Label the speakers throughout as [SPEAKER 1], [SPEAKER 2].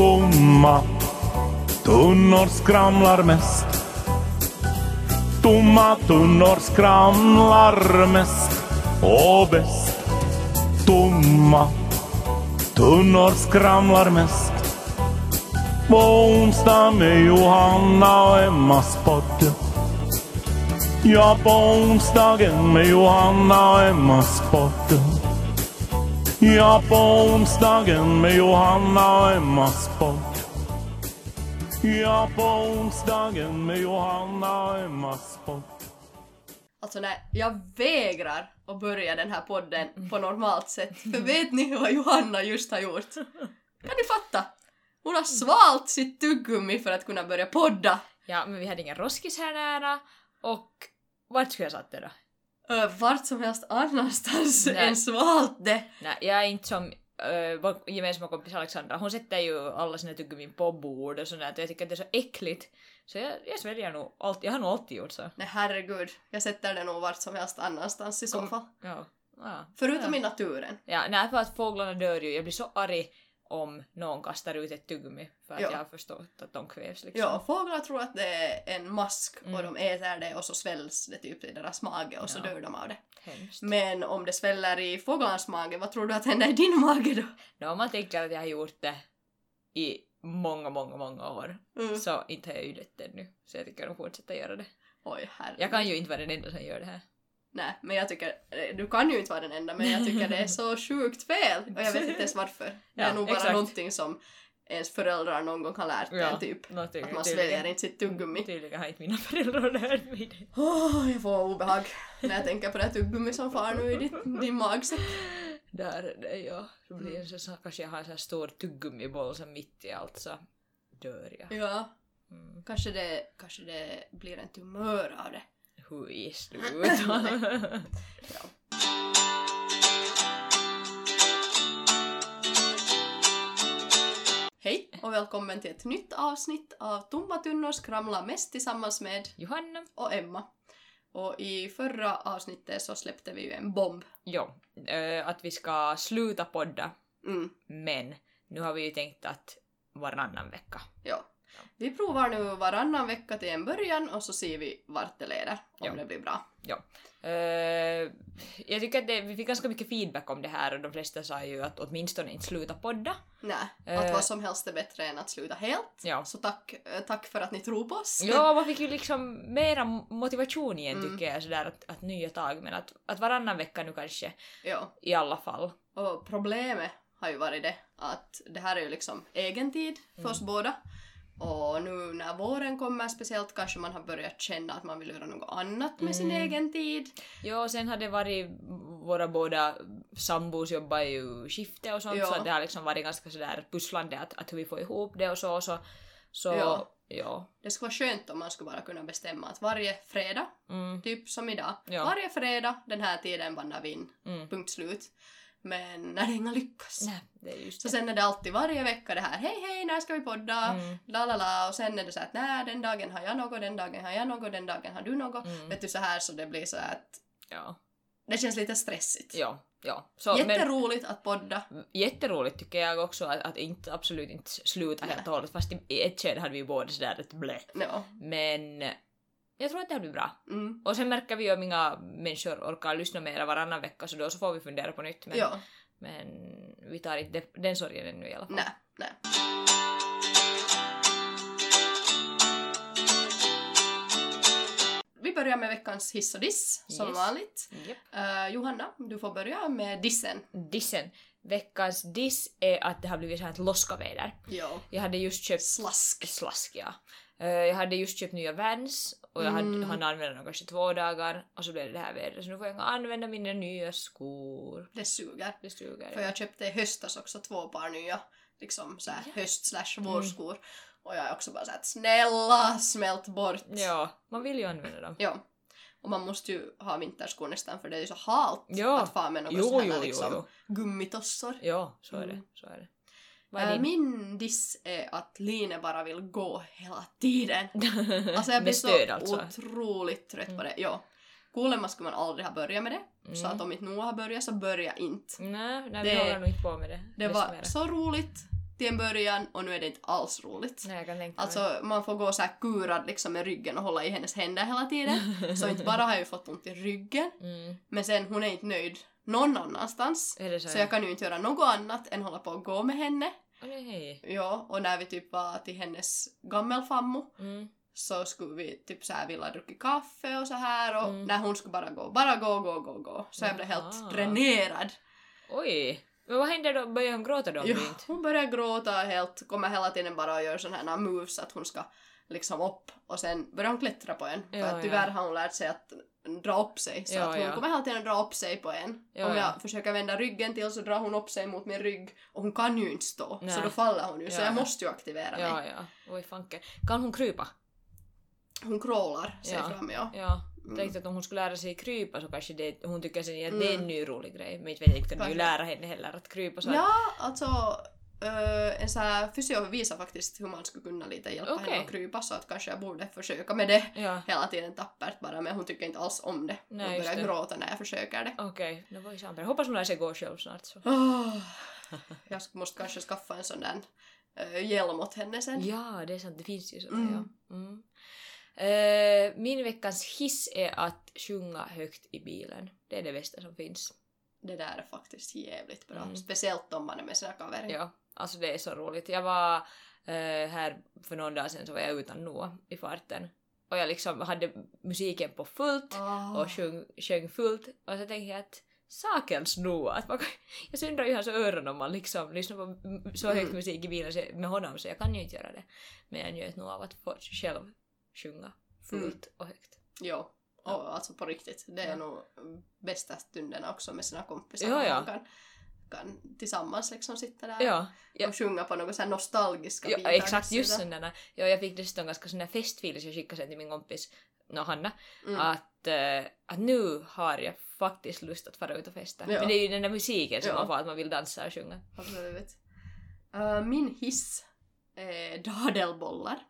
[SPEAKER 1] Tomma tunnor skramlar mest. Tomma tunnor skramlar mest och bäst. Tomma tunnor skramlar mest. På onsdag med Johanna och Emmas podd. Ja, på onsdagen med Johanna och Emmas podd. Ja, på onsdagen med Johanna och Emmas podd. Ja, på onsdagen med Johanna och Emmas podd.
[SPEAKER 2] Alltså nej, jag vägrar att börja den här podden på normalt sätt. För vet ni vad Johanna just har gjort? Kan ni fatta? Hon har svalt sitt tuggummi för att kunna börja podda.
[SPEAKER 3] Ja, men vi hade ingen roskis här nära och vart skulle jag satt det då?
[SPEAKER 2] Ö, Vart som helst annanstans
[SPEAKER 3] Nej.
[SPEAKER 2] än svalt det.
[SPEAKER 3] Nej, jag är inte som uh, vår gemensamma kompis Alexandra. Hon sätter ju alla sina tuggummin på bord och sånt där. och Jag tycker att det är så äckligt. Så jag, jag sväljer nog alltid. Jag har nog alltid gjort så.
[SPEAKER 2] Nej herregud, jag sätter det nog vart som helst annanstans i så
[SPEAKER 3] Kom-
[SPEAKER 2] fall.
[SPEAKER 3] Ja. Ja.
[SPEAKER 2] Förutom i naturen.
[SPEAKER 3] Ja, nej, för att fåglarna dör ju. Jag blir så arg om någon kastar ut ett tuggummi för att
[SPEAKER 2] Ja.
[SPEAKER 3] jag har förstått att de kvävs liksom.
[SPEAKER 2] Ja, fåglar tror att det är en mask och
[SPEAKER 3] Mm.
[SPEAKER 2] de äter det och så svälls det typ i deras mage och så
[SPEAKER 3] Ja.
[SPEAKER 2] dör de av det.
[SPEAKER 3] Hemskt.
[SPEAKER 2] Men om det sväller i fåglarnas mage, vad tror du att händer i din mage då?
[SPEAKER 3] Nå, om man tänker att jag har gjort det i många, många, många år
[SPEAKER 2] Mm.
[SPEAKER 3] så inte har jag ju dött ännu. Så jag tycker att de fortsätter göra det.
[SPEAKER 2] Oj herregud.
[SPEAKER 3] Jag kan ju inte vara den enda som gör det här.
[SPEAKER 2] Nej, men jag tycker, eh, du kan ju inte vara den enda, men jag tycker det är så sjukt fel och jag vet inte ens varför. Det är
[SPEAKER 3] Ja,
[SPEAKER 2] nog bara
[SPEAKER 3] exakt.
[SPEAKER 2] någonting som ens föräldrar någon gång har lärt en typ.
[SPEAKER 3] någonting-
[SPEAKER 2] Att man
[SPEAKER 3] tydligen-
[SPEAKER 2] sväljer inte sitt tuggummi.
[SPEAKER 3] Tydligen har inte mina föräldrar lärt mig det.
[SPEAKER 2] Åh, jag får obehag när jag tänker på det här tuggummi som far nu i ditt, din magsäck.
[SPEAKER 3] Där är det ja. Så blir det så- så kanske jag har en sån här stor tuggummiboll som mitt i allt så dör jag.
[SPEAKER 2] Ja,
[SPEAKER 3] Mm.
[SPEAKER 2] kanske det, kanske det blir en tumör av det.
[SPEAKER 3] Hur i slutet?
[SPEAKER 2] Ja. Hej och välkommen till ett nytt avsnitt av Tomma tunnor skramlar mest tillsammans med
[SPEAKER 3] Johanna.
[SPEAKER 2] och Emma. Och i förra avsnittet så släppte vi ju en bomb.
[SPEAKER 3] Jo, eh, att vi ska sluta podda
[SPEAKER 2] Mm,
[SPEAKER 3] men nu har vi ju tänkt att varannan vecka.
[SPEAKER 2] ja. Vi provar nu varannan vecka till en början och så ser vi vart det leder, om
[SPEAKER 3] Ja.
[SPEAKER 2] det blir bra.
[SPEAKER 3] Eh, jag tycker att det, vi fick ganska mycket feedback om det här och de flesta sa ju att åtminstone inte sluta podda.
[SPEAKER 2] Nej, att
[SPEAKER 3] Eh.
[SPEAKER 2] vad som helst är bättre än att sluta helt.
[SPEAKER 3] Ja.
[SPEAKER 2] Så tack, eh, tack för att ni tror på oss.
[SPEAKER 3] Ja, man fick ju liksom mera motivation igen
[SPEAKER 2] Alltså, Mm.
[SPEAKER 3] tycker jag sådär att, att nya tag men att, att varannan vecka nu kanske
[SPEAKER 2] ja.
[SPEAKER 3] i alla fall.
[SPEAKER 2] Och problemet har ju varit det att det här är ju liksom egen tid för oss
[SPEAKER 3] Mm.
[SPEAKER 2] båda. Och nu när våren kommer speciellt kanske man har börjat känna att man vill göra något annat med sin
[SPEAKER 3] Mm.
[SPEAKER 2] egen tid.
[SPEAKER 3] Jo, och sen har det varit våra båda sambos jobbar ju skifte och sånt
[SPEAKER 2] Ja.
[SPEAKER 3] så det har liksom varit ganska sådär pusslande att, att hur vi får ihop det och så och så. Så
[SPEAKER 2] Ja.
[SPEAKER 3] ja. ja.
[SPEAKER 2] Det skulle vara skönt om man skulle bara kunna bestämma att varje fredag,
[SPEAKER 3] Mm,
[SPEAKER 2] typ som idag,
[SPEAKER 3] Ja.
[SPEAKER 2] varje fredag den här tiden bandar vi in.
[SPEAKER 3] mm.
[SPEAKER 2] Punkt slut. Men när det inga lyckas.
[SPEAKER 3] Nej, det är just
[SPEAKER 2] Så
[SPEAKER 3] det.
[SPEAKER 2] sen är det alltid varje vecka det här hej hej när ska vi podda?
[SPEAKER 3] Mm.
[SPEAKER 2] La la la och sen är det så att nej den dagen har jag något, den dagen har jag något, den dagen har du något.
[SPEAKER 3] Mm.
[SPEAKER 2] Vet du så här så det blir så att
[SPEAKER 3] Ja.
[SPEAKER 2] det känns lite stressigt.
[SPEAKER 3] Ja. ja. Så, men,
[SPEAKER 2] Jätteroligt att podda.
[SPEAKER 3] jätteroligt tycker jag också att, att inte, absolut inte sluta
[SPEAKER 2] Nej.
[SPEAKER 3] helt och hållet fast i- i ett skede hade vi ju båda sådär ett blä.
[SPEAKER 2] Ja.
[SPEAKER 3] Men jag tror att det här blir bra.
[SPEAKER 2] Mm.
[SPEAKER 3] Och sen märker vi ju om inga människor orkar lyssna mera varannan vecka så då så får vi fundera på nytt. Men,
[SPEAKER 2] Ja.
[SPEAKER 3] men vi tar inte den sorgen ännu i alla fall.
[SPEAKER 2] Nej. Nej. Vi börjar med veckans hiss och diss som
[SPEAKER 3] Yes.
[SPEAKER 2] vanligt.
[SPEAKER 3] Japp.
[SPEAKER 2] Eh, Johanna, du får börja med dissen.
[SPEAKER 3] Dissen. Veckans diss är att det har blivit så här ett loskaväder.
[SPEAKER 2] Ja.
[SPEAKER 3] Jag hade just köpt
[SPEAKER 2] Slask.
[SPEAKER 3] slask ja. Eh, Jag hade just köpt nya Vans och jag hade,
[SPEAKER 2] Mm.
[SPEAKER 3] hann använda dem kanske två dagar och så blev det det här vädret så nu får jag använda mina nya skor.
[SPEAKER 2] Det suger.
[SPEAKER 3] Det suger.
[SPEAKER 2] För jag köpte i höstas också två par nya liksom så här,
[SPEAKER 3] Ja. Mm.
[SPEAKER 2] höst slash vårskor. Och jag är också bara såhär snälla smält bort.
[SPEAKER 3] Ja, man vill ju använda dem.
[SPEAKER 2] Ja. Och man måste ju ha vinterskor nästan för det är ju så halt
[SPEAKER 3] Ja.
[SPEAKER 2] att fara med något
[SPEAKER 3] Jo,
[SPEAKER 2] sån här
[SPEAKER 3] jo, jo,
[SPEAKER 2] liksom
[SPEAKER 3] jo.
[SPEAKER 2] gummitossor.
[SPEAKER 3] Ja, så är det.
[SPEAKER 2] Mm.
[SPEAKER 3] Så är det. Vad är
[SPEAKER 2] Äh,
[SPEAKER 3] din?
[SPEAKER 2] min diss är att Line bara vill gå hela tiden. Alltså jag
[SPEAKER 3] Mm. Med
[SPEAKER 2] blir så
[SPEAKER 3] stöd alltså.
[SPEAKER 2] otroligt trött på
[SPEAKER 3] Mm.
[SPEAKER 2] det. Ja. Kuulemma skulle man aldrig ha börjat med det. Så att om inte Noah har börjat så börja inte.
[SPEAKER 3] Nej, nej
[SPEAKER 2] Det-
[SPEAKER 3] vi håller nog inte på med det.
[SPEAKER 2] Det
[SPEAKER 3] Mest
[SPEAKER 2] var
[SPEAKER 3] mera.
[SPEAKER 2] så roligt till en början och nu är det inte alls roligt.
[SPEAKER 3] Nej, jag kan tänka mig.
[SPEAKER 2] Alltså man får gå så här kurad liksom med ryggen och hålla i hennes händer hela tiden. Så inte bara har jag ju fått ont i ryggen,
[SPEAKER 3] Mm.
[SPEAKER 2] men sen hon är inte nöjd någon annanstans.
[SPEAKER 3] Är det så?
[SPEAKER 2] Så jag kan ju inte göra något annat än hålla på och gå med henne.
[SPEAKER 3] Åh, nej.
[SPEAKER 2] Ja, och när vi typ var till hennes gammelfammo
[SPEAKER 3] Mm.
[SPEAKER 2] så skulle vi typ så här vilja dricka kaffe och så här och
[SPEAKER 3] Mm.
[SPEAKER 2] när hon skulle bara gå, bara gå, gå, gå, gå. Så jag blev
[SPEAKER 3] Jaha.
[SPEAKER 2] helt dränerad.
[SPEAKER 3] Oj. Men vad händer då? Börjar hon gråta då? om
[SPEAKER 2] Ja,
[SPEAKER 3] du inte-
[SPEAKER 2] hon börjar gråta helt, kommer hela tiden bara och gör sådana här moves att hon ska liksom upp och sen börjar hon klättra på en. För
[SPEAKER 3] Ja,
[SPEAKER 2] att tyvärr
[SPEAKER 3] ja.
[SPEAKER 2] har hon lärt sig att dra upp sig så
[SPEAKER 3] Ja,
[SPEAKER 2] att hon
[SPEAKER 3] ja.
[SPEAKER 2] kommer hela tiden dra upp sig på en.
[SPEAKER 3] Ja,
[SPEAKER 2] Om jag
[SPEAKER 3] ja.
[SPEAKER 2] försöker vända ryggen till så drar hon upp sig mot min rygg och hon kan ju inte stå så
[SPEAKER 3] Nej.
[SPEAKER 2] då faller hon ju så
[SPEAKER 3] Ja,
[SPEAKER 2] jag
[SPEAKER 3] ja.
[SPEAKER 2] måste ju aktivera mig.
[SPEAKER 3] Ja, ja. Oj fanken. Kan hon krypa?
[SPEAKER 2] Hon crawlar sig
[SPEAKER 3] Ja.
[SPEAKER 2] fram ja.
[SPEAKER 3] Ja.
[SPEAKER 2] Mm.
[SPEAKER 3] Tänkte att om hon skulle lära sig krypa så kanske det, hon tycker sen att
[SPEAKER 2] Mm.
[SPEAKER 3] det är en ny rolig grej. Men inte vet jag inte kan du ju
[SPEAKER 2] Kanske.
[SPEAKER 3] lära henne heller att krypa så
[SPEAKER 2] Ja, alltså eh, en sån här fysio visar faktiskt hur man skulle kunna lite hjälpa henne
[SPEAKER 3] Okej.
[SPEAKER 2] att krypa så att kanske jag borde försöka med det.
[SPEAKER 3] att... Ja.
[SPEAKER 2] hela tiden tappert bara men hon tycker inte alls om det.
[SPEAKER 3] Nej,
[SPEAKER 2] hon
[SPEAKER 3] just
[SPEAKER 2] börjar
[SPEAKER 3] det.
[SPEAKER 2] gråta när jag försöker det.
[SPEAKER 3] Okej. No voi samper. Hoppas hon lär sig gå själv snart så.
[SPEAKER 2] Åh. jag måste kanske skaffa en sån där eh, hjälm åt henne sen.
[SPEAKER 3] Ja, det är sant. Det finns ju sådana,
[SPEAKER 2] Mm.
[SPEAKER 3] ja. Mm. Eh, min veckans hiss är att sjunga högt i bilen. Det är det bästa som finns.
[SPEAKER 2] Det där är faktiskt jävligt bra.
[SPEAKER 3] Mm.
[SPEAKER 2] Speciellt om man är med sina kaverer.
[SPEAKER 3] Ja, alltså det är så roligt. Jag var eh, här för någon dag sedan så var jag utan Noah i farten. Och jag liksom hade musiken på fullt
[SPEAKER 2] Ah.
[SPEAKER 3] och sjöng, sjöng fullt. Och så tänkte jag att sakens Noah. Att man, kan- jag syndrar ju hans öron om man liksom lyssnar på m- så högt
[SPEAKER 2] Mm.
[SPEAKER 3] musik i bilen så- med honom så jag kan ju inte göra det. Men jag njöt nog av att få själv sjunga fullt
[SPEAKER 2] Mm.
[SPEAKER 3] och högt.
[SPEAKER 2] Jo. Och, alltså på riktigt. Det är
[SPEAKER 3] Ja.
[SPEAKER 2] nog bästa stunderna också med sina kompisar.
[SPEAKER 3] Ja, ja.
[SPEAKER 2] Man kan, kan tillsammans liksom sitta där
[SPEAKER 3] Ja, ja.
[SPEAKER 2] och sjunga på något så här nostalgiska
[SPEAKER 3] Ja,
[SPEAKER 2] bitar.
[SPEAKER 3] exakt
[SPEAKER 2] vid
[SPEAKER 3] just
[SPEAKER 2] sidan.
[SPEAKER 3] sådana. Ja, jag fick dessutom ganska sån där festfil så jag skickade sen till min kompis no, Hanna
[SPEAKER 2] Mm.
[SPEAKER 3] att, eh, att nu har jag faktiskt lust att fara ut och festa.
[SPEAKER 2] Ja.
[SPEAKER 3] Men det är ju den där musiken som
[SPEAKER 2] Ja.
[SPEAKER 3] man får att man vill dansa och sjunga.
[SPEAKER 2] Absolut. Äh, min hiss är dadelbollar.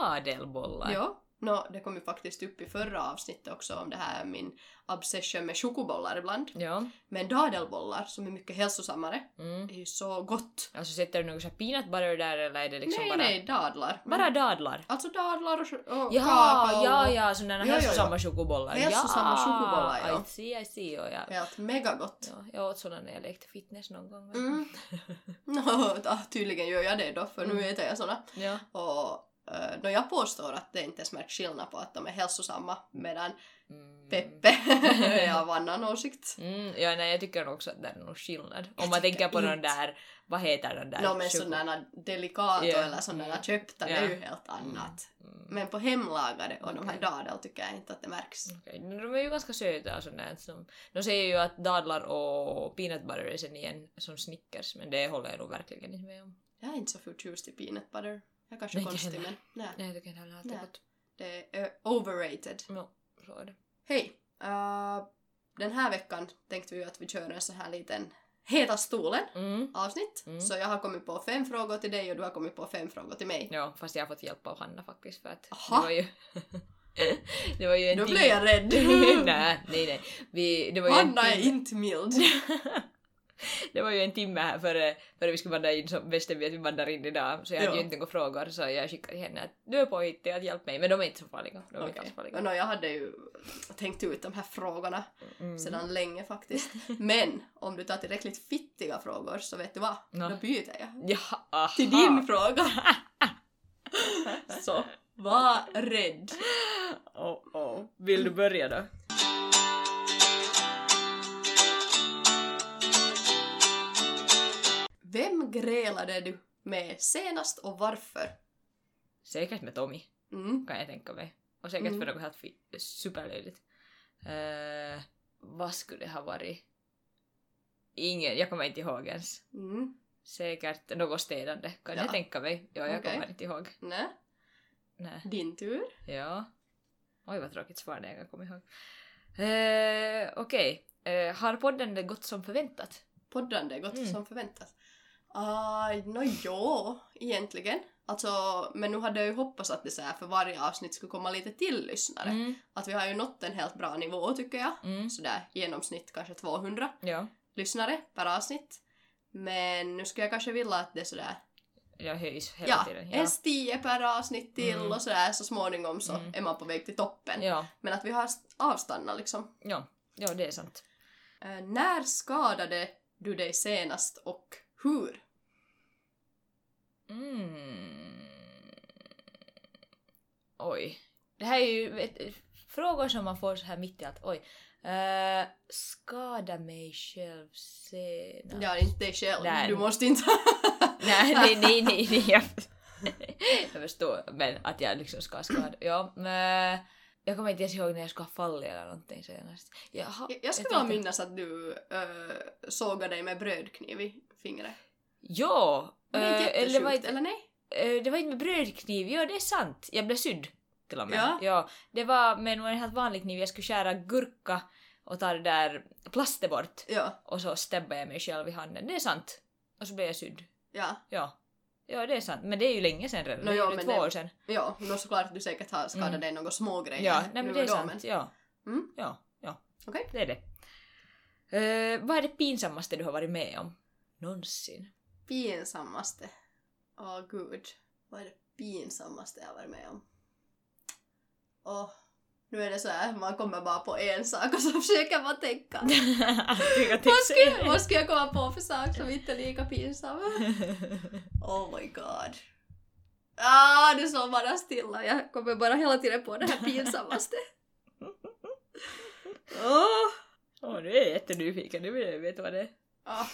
[SPEAKER 3] Dadelbollar.
[SPEAKER 2] Ja. No, det kom ju faktiskt upp i förra avsnittet också om det här min obsession med chokobollar ibland.
[SPEAKER 3] Ja.
[SPEAKER 2] Men dadelbollar, som är mycket hälsosammare,
[SPEAKER 3] Mm.
[SPEAKER 2] är ju så gott.
[SPEAKER 3] Alltså sätter du någon sån här peanut butter där eller är det liksom
[SPEAKER 2] nej,
[SPEAKER 3] bara,
[SPEAKER 2] nej, dadlar.
[SPEAKER 3] bara dadlar?
[SPEAKER 2] Alltså dadlar och, ch- och
[SPEAKER 3] Jaha,
[SPEAKER 2] kakao.
[SPEAKER 3] ja, ja, sådana
[SPEAKER 2] Ja, ja,
[SPEAKER 3] hälsosamma chokobollar.
[SPEAKER 2] Hälsosamma chokobollar, ja.
[SPEAKER 3] I see, I see, ja. ja.
[SPEAKER 2] Helt megagott.
[SPEAKER 3] ja jag åt sådana när jag lekte fitness någon gång.
[SPEAKER 2] Mm. No, ta- tydligen gör jag det då, för nu
[SPEAKER 3] Mm.
[SPEAKER 2] äter jag såna.
[SPEAKER 3] Ja.
[SPEAKER 2] Och eh, no, jag påstår att det inte smärts skillnad på att de är hälsosamma, medan
[SPEAKER 3] Mm.
[SPEAKER 2] Peppe är av annan åsikt.
[SPEAKER 3] Mm, ja, nej, jag tycker också att det är nog skillnad.
[SPEAKER 2] Jag
[SPEAKER 3] Om man
[SPEAKER 2] tycker
[SPEAKER 3] tänker på den
[SPEAKER 2] inte.
[SPEAKER 3] där, vad heter den där?
[SPEAKER 2] No men
[SPEAKER 3] choco-
[SPEAKER 2] sådana delikata
[SPEAKER 3] Ja.
[SPEAKER 2] eller sådana
[SPEAKER 3] Mm.
[SPEAKER 2] köpta, det är
[SPEAKER 3] Ja.
[SPEAKER 2] ju helt annat.
[SPEAKER 3] Mm.
[SPEAKER 2] Men på hemlagade och de här
[SPEAKER 3] Okej. Mm.
[SPEAKER 2] dadel tycker jag inte att det märks.
[SPEAKER 3] Okej, no, de är ju ganska söta och sådär. De, de säger ju att dadlar och peanut butter är sen igen som Snickers, men det håller jag nog verkligen inte med om.
[SPEAKER 2] Jag är inte så förtjust i peanut butter. Jag kanske är
[SPEAKER 3] Nej, inte
[SPEAKER 2] konstig men
[SPEAKER 3] heller.
[SPEAKER 2] nej.
[SPEAKER 3] Nej, jag tycker inte heller att det
[SPEAKER 2] Nej.
[SPEAKER 3] är gott.
[SPEAKER 2] Det är eh, overrated.
[SPEAKER 3] No, så är det.
[SPEAKER 2] Hej! äh, den här veckan tänkte vi att vi kör en så här liten Heta stolen
[SPEAKER 3] Mm.
[SPEAKER 2] avsnitt.
[SPEAKER 3] Mm.
[SPEAKER 2] Så jag har kommit på fem frågor till dig och du har kommit på fem frågor till mig.
[SPEAKER 3] Ja, fast jag har fått hjälp av Hanna faktiskt för att
[SPEAKER 2] Aha.
[SPEAKER 3] det var ju... det var ju en
[SPEAKER 2] Då
[SPEAKER 3] ting-
[SPEAKER 2] blev jag rädd!
[SPEAKER 3] nej, nej, nej. Vi, det var ju en
[SPEAKER 2] Hanna är
[SPEAKER 3] ting-
[SPEAKER 2] inte mild.
[SPEAKER 3] Det var ju en timme här före, före vi skulle banda in så bestämde vi att vi bandar in idag så jag hade
[SPEAKER 2] Ja.
[SPEAKER 3] ju inte några frågor så jag skickade till henne att du är påhittig att hjälpa mig men de är inte så farliga. De är inte alls
[SPEAKER 2] Okej.
[SPEAKER 3] farliga.
[SPEAKER 2] No, jag hade ju tänkt ut de här frågorna
[SPEAKER 3] Mm.
[SPEAKER 2] sedan länge faktiskt. Men om du tar tillräckligt fittiga frågor så vet du vad,
[SPEAKER 3] Nå.
[SPEAKER 2] då byter jag.
[SPEAKER 3] Jaha, aha.
[SPEAKER 2] Till din fråga! så, var rädd!
[SPEAKER 3] Oh, oh. Vill du börja då?
[SPEAKER 2] Vem grälade du med senast och varför?
[SPEAKER 3] Säkert med Tommy
[SPEAKER 2] Mm.
[SPEAKER 3] kan jag tänka mig. Och säkert
[SPEAKER 2] Mm.
[SPEAKER 3] för något helt fi- superlöjligt. Eh, vad skulle det ha varit? Ingen, jag kommer inte ihåg ens.
[SPEAKER 2] Mm.
[SPEAKER 3] Säkert något städande kan
[SPEAKER 2] Ja.
[SPEAKER 3] jag tänka mig. Ja, jag
[SPEAKER 2] Okej.
[SPEAKER 3] kommer inte ihåg.
[SPEAKER 2] Nä,
[SPEAKER 3] Nej.
[SPEAKER 2] din tur.
[SPEAKER 3] Ja. Oj vad tråkigt svar det jag kommer ihåg. Eh, Okej. Eh, har podden det gått som förväntat?
[SPEAKER 2] Poddande gott
[SPEAKER 3] Mm.
[SPEAKER 2] som förväntat. Aj, nå jo, egentligen. Alltså, men nu hade jag ju hoppats att det så här för varje avsnitt skulle komma lite till lyssnare.
[SPEAKER 3] Mm.
[SPEAKER 2] Att vi har ju nått en helt bra nivå tycker jag.
[SPEAKER 3] Mm.
[SPEAKER 2] Sådär genomsnitt kanske 200
[SPEAKER 3] Ja.
[SPEAKER 2] lyssnare per avsnitt. Men nu skulle jag kanske vilja att det är sådär
[SPEAKER 3] jag höjs hela
[SPEAKER 2] Ja,
[SPEAKER 3] tiden. Ja.
[SPEAKER 2] ens tio per avsnitt till
[SPEAKER 3] Mm.
[SPEAKER 2] och sådär så småningom så
[SPEAKER 3] Mm.
[SPEAKER 2] är man på väg till toppen.
[SPEAKER 3] Ja,
[SPEAKER 2] Men att vi har st- avstannat liksom.
[SPEAKER 3] ja, ja, det är sant.
[SPEAKER 2] Eh, när skadade du dig senast och hur?
[SPEAKER 3] Mm. Oj. Det här är ju vet, frågor som man får så här mitt i allt. Oj. Eh, skada mig själv senast.
[SPEAKER 2] Ja, inte dig själv.
[SPEAKER 3] Nej.
[SPEAKER 2] Du måste inte...
[SPEAKER 3] Nej, nej, nej, nej, nej. Jag, jag förstår. Men att jag liksom ska skada. Ja, men eh, jag kommer inte ens ihåg när jag ska ha fallit eller någonting senast. Jaha,
[SPEAKER 2] Jag- jag skulle
[SPEAKER 3] vet
[SPEAKER 2] vilja
[SPEAKER 3] inte.
[SPEAKER 2] minnas att du äh, sågade dig med brödkniv i fingret.
[SPEAKER 3] Ja!
[SPEAKER 2] Det är
[SPEAKER 3] eh,
[SPEAKER 2] jättesjukt,
[SPEAKER 3] eller
[SPEAKER 2] eller,
[SPEAKER 3] var inte,
[SPEAKER 2] nej?
[SPEAKER 3] eh, det var inte med brödkniv, ja det är sant. Jag blev sydd till och med.
[SPEAKER 2] Ja.
[SPEAKER 3] det var med en helt vanlig kniv, jag skulle skära gurka och ta det där plasten bort.
[SPEAKER 2] Ja,
[SPEAKER 3] Och så stabbade jag mig själv i handen, det är sant. Och så blev jag sydd.
[SPEAKER 2] ja.
[SPEAKER 3] Ja. Ja, det är sant. Men det är ju länge sen redan.
[SPEAKER 2] Nå,
[SPEAKER 3] det är
[SPEAKER 2] ja,
[SPEAKER 3] ju
[SPEAKER 2] men
[SPEAKER 3] två
[SPEAKER 2] det-
[SPEAKER 3] år sedan.
[SPEAKER 2] Ja, no såklart att du säkert har skadat
[SPEAKER 3] Mm.
[SPEAKER 2] dig några små grejer.
[SPEAKER 3] Ja, nej, men
[SPEAKER 2] nu
[SPEAKER 3] det är
[SPEAKER 2] och då,
[SPEAKER 3] sant. Ja.
[SPEAKER 2] Mm.
[SPEAKER 3] ja, ja.
[SPEAKER 2] Okej.
[SPEAKER 3] Det är det. Eh, vad är det pinsammaste du har varit med om? Någonsin.
[SPEAKER 2] Pinsammaste. Åh gud. Vad är det pinsammaste jag har varit med om? Åh. Nu är det så här, man kommer bara på en sak och så försöker man tänka.
[SPEAKER 3] Jag
[SPEAKER 2] Vad ska, vad ska jag komma på för sak som inte är lika pinsam? Oh my god. Ah, du står bara stilla. Jag kommer bara hela tiden på det här pinsammaste. Oh.
[SPEAKER 3] Åh, Åh, nu är jag jättenyfiken. Nu vill jag veta vad det är.
[SPEAKER 2] Ah,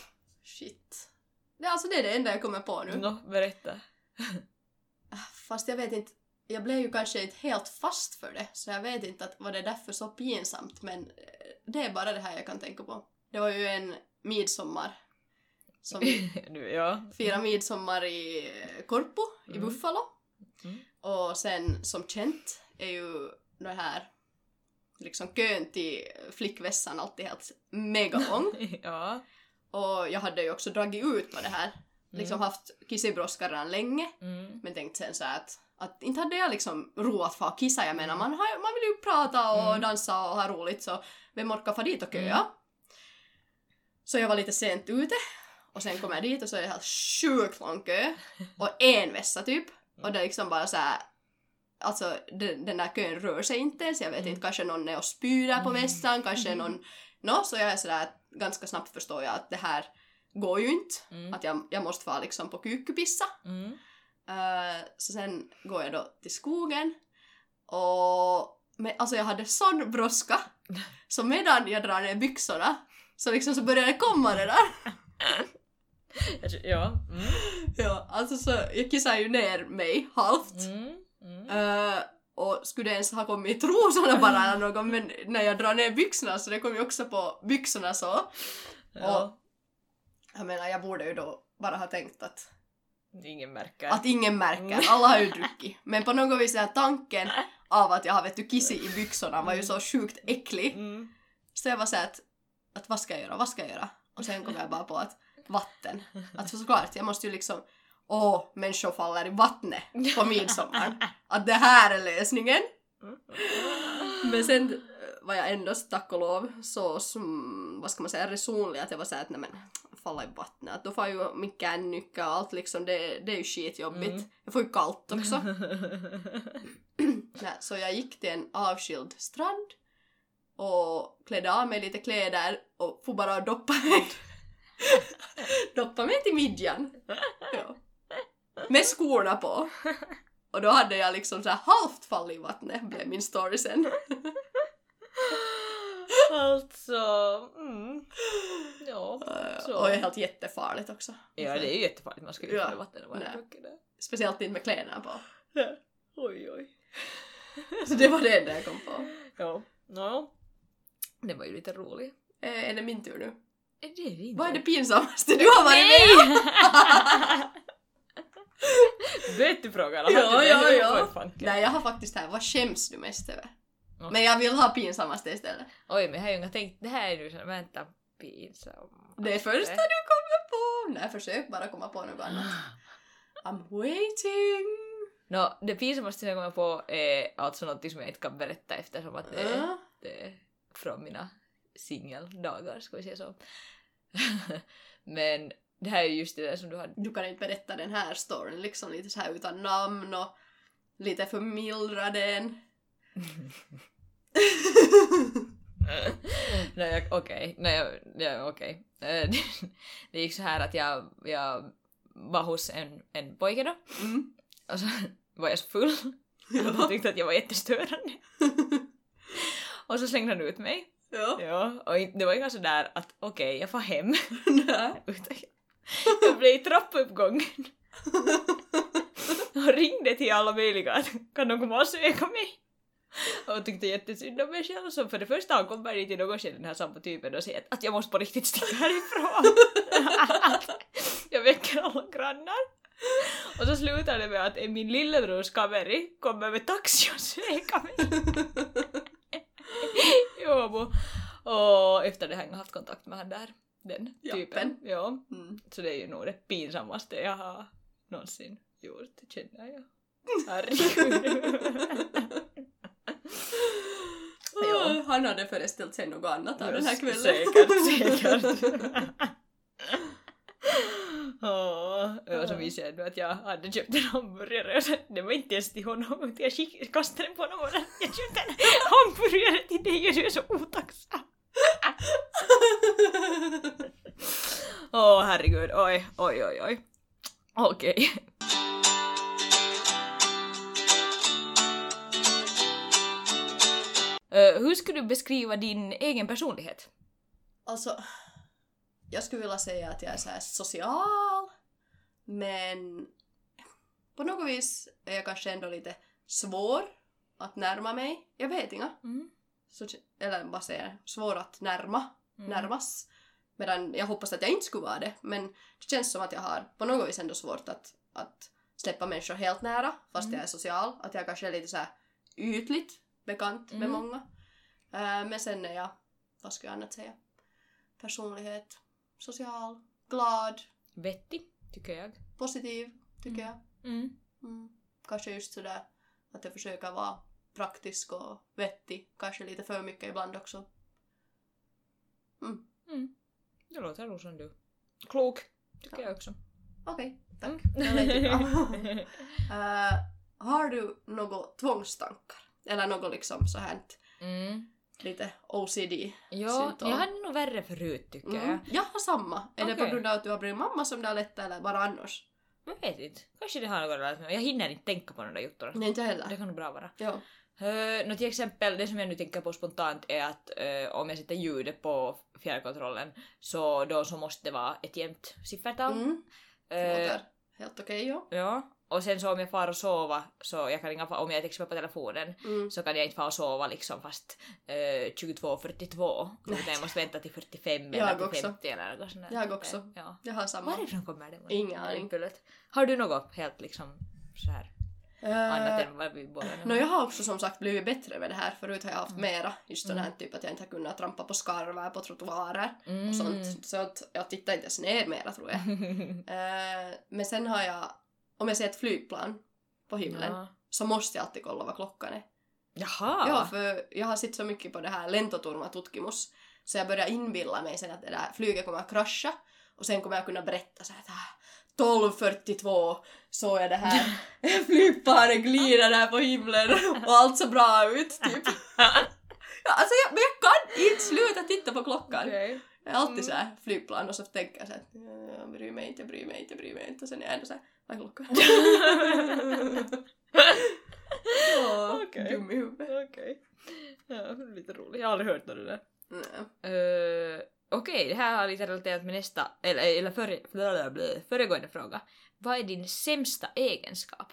[SPEAKER 2] shit. Det, är alltså, det är det enda jag kommer på nu. Ah,
[SPEAKER 3] Nå, berätta.
[SPEAKER 2] Fast jag vet inte, jag blev ju kanske inte helt fast för det, så jag vet inte att, vad det är därför så pinsamt, men eh, det är bara det här jag kan tänka på. Det var ju en midsommar som vi
[SPEAKER 3] nu, ja.
[SPEAKER 2] firade midsommar i Korpo, i
[SPEAKER 3] Mm.
[SPEAKER 2] Buffalo.
[SPEAKER 3] Mm.
[SPEAKER 2] Och sen som känt är ju det här liksom kön till flickvässan alltid helt mega lång.
[SPEAKER 3] ja. Mm,
[SPEAKER 2] Och jag hade ju också dragit ut på det här, liksom haft kissibrådska redan länge.
[SPEAKER 3] Mm.
[SPEAKER 2] Men tänkte sen så här att, att inte hade jag liksom ro att få kissa. Jag menar man, har, man vill ju prata och
[SPEAKER 3] Mm.
[SPEAKER 2] dansa och ha roligt så vem orkar få dit och köa? Så jag var lite sent ute och sen kom jag dit och så är det helt sjukt lång kö och en vässa typ
[SPEAKER 3] Mm.
[SPEAKER 2] och det är liksom bara så här Alltså den, den där kön rör sig inte ens, jag vet inte, kanske någon är och spyr där på
[SPEAKER 3] Mm.
[SPEAKER 2] vässan, kanske
[SPEAKER 3] Mm.
[SPEAKER 2] någon... Nå, så jag är sådär att ganska snabbt förstår jag att det här går ju inte,
[SPEAKER 3] Mm.
[SPEAKER 2] att jag, jag måste vara liksom på kukupissa.
[SPEAKER 3] Mm.
[SPEAKER 2] Eh, så sen går jag då till skogen och men, alltså jag hade sån brådska så medan jag drar ner byxorna så liksom så började det komma det där.
[SPEAKER 3] Jag tror- Ja. mm,
[SPEAKER 2] Ja, alltså så jag kissade ju ner mig halvt
[SPEAKER 3] Mm. Mm. Mm.
[SPEAKER 2] Eh, och skulle ens ha kommit i trosorna bara eller något men när jag drar ner byxorna så det kom ju också på byxorna så.
[SPEAKER 3] Ja.
[SPEAKER 2] Jag menar jag borde ju då bara ha tänkt att
[SPEAKER 3] Ingen märker.
[SPEAKER 2] Att ingen
[SPEAKER 3] Mm.
[SPEAKER 2] märker, alla har ju druckit. Men på något vis den här tanken av att jag har vet du kissi i byxorna var ju så sjukt äcklig.
[SPEAKER 3] Mm.
[SPEAKER 2] Så jag var såhär att, att vad ska jag göra, vad ska jag göra? Och sen kom jag bara på att vatten. Att så- såklart, jag måste ju liksom Åh, människor faller i vattnet på midsommar. Att det här är lösningen. Men sen eh, var jag ändå tack och lov så som, vad ska man säga, resonlig att jag var såhär att nej men falla i vattnet. Att då får ju min kännycka och allt liksom, det, det är ju skitjobbigt.
[SPEAKER 3] Mm.
[SPEAKER 2] Jag får ju kallt också. Nej, så jag gick till en avskild strand och klädde av mig lite kläder och får bara och doppa mig. doppa mig till midjan. Ja. Med skorna på. Och då hade jag liksom så här halvt fallit i vattnet, blev min story sen.
[SPEAKER 3] alltså. Mm. Ja. Så.
[SPEAKER 2] Eh, Och är helt jättefarligt också.
[SPEAKER 3] ja, det är ju jättefarligt. Man ska ju inte
[SPEAKER 2] Ja.
[SPEAKER 3] falla i vattnet. bara
[SPEAKER 2] Nej.
[SPEAKER 3] druckit det.
[SPEAKER 2] Speciellt inte med kläderna på.
[SPEAKER 3] Oj, oj.
[SPEAKER 2] Så det var det enda jag kom på.
[SPEAKER 3] Ja, nåja. Det var ju lite roligt.
[SPEAKER 2] Eh, Är det min tur nu?
[SPEAKER 3] Är det inte?
[SPEAKER 2] Vad är det pinsammaste du har varit med om?
[SPEAKER 3] Vet du frågan?
[SPEAKER 2] Ja,
[SPEAKER 3] Hade du
[SPEAKER 2] ja,
[SPEAKER 3] det?
[SPEAKER 2] ja.
[SPEAKER 3] Oj, fan.
[SPEAKER 2] Nej, jag har faktiskt det här, vad skäms du mest över?
[SPEAKER 3] Ja.
[SPEAKER 2] Men jag vill ha pinsammaste istället.
[SPEAKER 3] Oj, men jag har ju inga tänkt. Det här är ju så, vänta, pinsamt.
[SPEAKER 2] Det är första du kommer på! Nej, försök bara komma på något annat. I'm waiting!
[SPEAKER 3] Nå, det pinsammaste jag kommer på är alltså något som jag inte kan berätta eftersom att det är,
[SPEAKER 2] Ja.
[SPEAKER 3] det är från mina singeldagar, ska vi säga så. men Det här är ju just det där som du hade.
[SPEAKER 2] Du kan inte berätta den här storyn liksom lite så här utan namn och lite förmildra den. Mm.
[SPEAKER 3] Nej, jag- okej. Nej, jag- ja, okej. Eh, Det gick så här att jag, jag var hos en, en pojke då
[SPEAKER 2] Mm.
[SPEAKER 3] och så var jag så full. Han
[SPEAKER 2] Ja.
[SPEAKER 3] tyckte att jag var jättestörande. Och så slängde han ut mig.
[SPEAKER 2] ja.
[SPEAKER 3] Ja, och in- det var inga sådär att okej, jag får hem.
[SPEAKER 2] Nä.
[SPEAKER 3] Utan jag- jag blev i trappuppgången. Och ringde till alla möjliga att kan någon komma och söka mig? Och tyckte jättesynd om mig själv så för det första han kommer dit i något skede den här samma typen och säger att, att jag måste på riktigt sticka härifrån. jag väcker alla grannar. Och så slutar det med att min lillebrors kameri kommer med taxi och söker mig. jo, bo. Och efter det har jag inte haft kontakt med han där. Den typen.
[SPEAKER 2] Jappen.
[SPEAKER 3] Ja.
[SPEAKER 2] Mm.
[SPEAKER 3] Så det är ju nog det pinsammaste jag har någonsin gjort, känner jag. Herregud. Ja.
[SPEAKER 2] Han hade föreställt sig något annat av den här kvällen.
[SPEAKER 3] Säkert, säkert. Åh, ja, så visste jag nu att jag hade köpt en hamburgare och sen, det var inte ens till honom utan jag skick- kastade den på honom och sen, jag köpte en hamburgare till dig och du är så otacksam. Åh herregud, oj, oj, oj, oj. Okej. Eh, hur skulle du beskriva din egen personlighet?
[SPEAKER 2] Alltså, jag skulle vilja säga att jag är så här social, men på något vis är jag kanske ändå lite svår att närma mig. Jag vet inga.
[SPEAKER 3] Mm.
[SPEAKER 2] Så, eller vad säger jag? Svår att närma,
[SPEAKER 3] Mm.
[SPEAKER 2] närmas. Medan jag hoppas att jag inte skulle vara det, men det känns som att jag har på något vis ändå svårt att, att släppa människor helt nära, fast
[SPEAKER 3] Mm.
[SPEAKER 2] jag är social. Att jag kanske är lite så här ytligt bekant med
[SPEAKER 3] Mm.
[SPEAKER 2] många. Äh, men sen är jag, vad ska jag annat säga? personlighet, social, glad,
[SPEAKER 3] Vettig, Mm. tycker jag.
[SPEAKER 2] positiv, tycker
[SPEAKER 3] Mm.
[SPEAKER 2] jag. Mm. Kanske just sådär att jag försöker vara praktisk och vettig, kanske lite för mycket ibland också. Mm.
[SPEAKER 3] Det låter nog som du. Klok, tycker
[SPEAKER 2] Ja.
[SPEAKER 3] jag också.
[SPEAKER 2] Okej, tack. Jag lät
[SPEAKER 3] Mm.
[SPEAKER 2] bra. Äh, har du något tvångstankar? Eller något liksom så här
[SPEAKER 3] mm.
[SPEAKER 2] lite OCD?
[SPEAKER 3] Ja,
[SPEAKER 2] Symptom.
[SPEAKER 3] jag hade nog värre förut tycker
[SPEAKER 2] Mm.
[SPEAKER 3] jag.
[SPEAKER 2] Jag har samma. Är det på
[SPEAKER 3] Okej.
[SPEAKER 2] grund av att du har blivit mamma som det har lätt eller bara annars?
[SPEAKER 3] Jag vet inte. Kanske det har något att göra med. Jag hinner inte tänka på de där juttorna.
[SPEAKER 2] Nej, inte jag
[SPEAKER 3] Det
[SPEAKER 2] heller.
[SPEAKER 3] kan nog bra vara.
[SPEAKER 2] Joo.
[SPEAKER 3] Uh, no till exempel, det som jag nu tänker på spontant är att eh, om jag sätter ljudet på fjärrkontrollen så då så måste det vara ett jämnt siffertal.
[SPEAKER 2] Mm.
[SPEAKER 3] Eh,
[SPEAKER 2] Låter helt okej, jo.
[SPEAKER 3] ja. Och sen så om jag far och sova så jag kan inga, om jag till exempel på telefonen
[SPEAKER 2] Mm.
[SPEAKER 3] så kan jag inte fara och sova liksom fast eh, 22.42
[SPEAKER 2] Nej.
[SPEAKER 3] utan jag måste vänta till 45
[SPEAKER 2] Jag
[SPEAKER 3] eller till
[SPEAKER 2] också.
[SPEAKER 3] 50 eller något sånt där. Eh,
[SPEAKER 2] Jag också.
[SPEAKER 3] Ja.
[SPEAKER 2] Jag har samma.
[SPEAKER 3] Varifrån kommer det?
[SPEAKER 2] Ingen aning.
[SPEAKER 3] Äpplet? Har du något helt liksom så här annat
[SPEAKER 2] Äh,
[SPEAKER 3] än vad vi båda nu
[SPEAKER 2] no,
[SPEAKER 3] har?
[SPEAKER 2] jag har också som sagt blivit bättre med det här. Förut har jag haft
[SPEAKER 3] Mm.
[SPEAKER 2] mera. Just sån här
[SPEAKER 3] Mm.
[SPEAKER 2] typ att jag inte har kunnat trampa på skarvar, på trottoarer
[SPEAKER 3] mm.
[SPEAKER 2] och sånt. Så att jag tittar inte ens ner mera tror jag. Äh, men sen har jag, om jag ser ett flygplan på himlen
[SPEAKER 3] Ja.
[SPEAKER 2] så måste jag alltid kolla vad klockan är.
[SPEAKER 3] Jaha!
[SPEAKER 2] Ja, för jag har sett så mycket på det här lentoturvatutkimus så jag börjar inbilla mig sen att det där flyget kommer att krascha och sen kommer jag kunna berätta så här att ah, 12.42 såg jag det här flygplanet glida där på himlen och allt så bra ut typ. Ja, alltså jag, men jag kan inte sluta titta på klockan.
[SPEAKER 3] Okej.
[SPEAKER 2] Jag är alltid så här flygplan och så tänker jag så här att "Eh, jag bryr mig inte, jag bryr mig inte, jag bryr mig inte och sen är jag ändå så här vad är klockan? Åh,
[SPEAKER 3] Okej.
[SPEAKER 2] Dum i huvudet.
[SPEAKER 3] Okej. Ja, det är lite roligt. Jag har aldrig hört om det där.
[SPEAKER 2] Nej.
[SPEAKER 3] Eh, Okej, det här har lite relaterat med nästa, eller, eller före, blablabla, föregående fråga. Vad är din sämsta egenskap?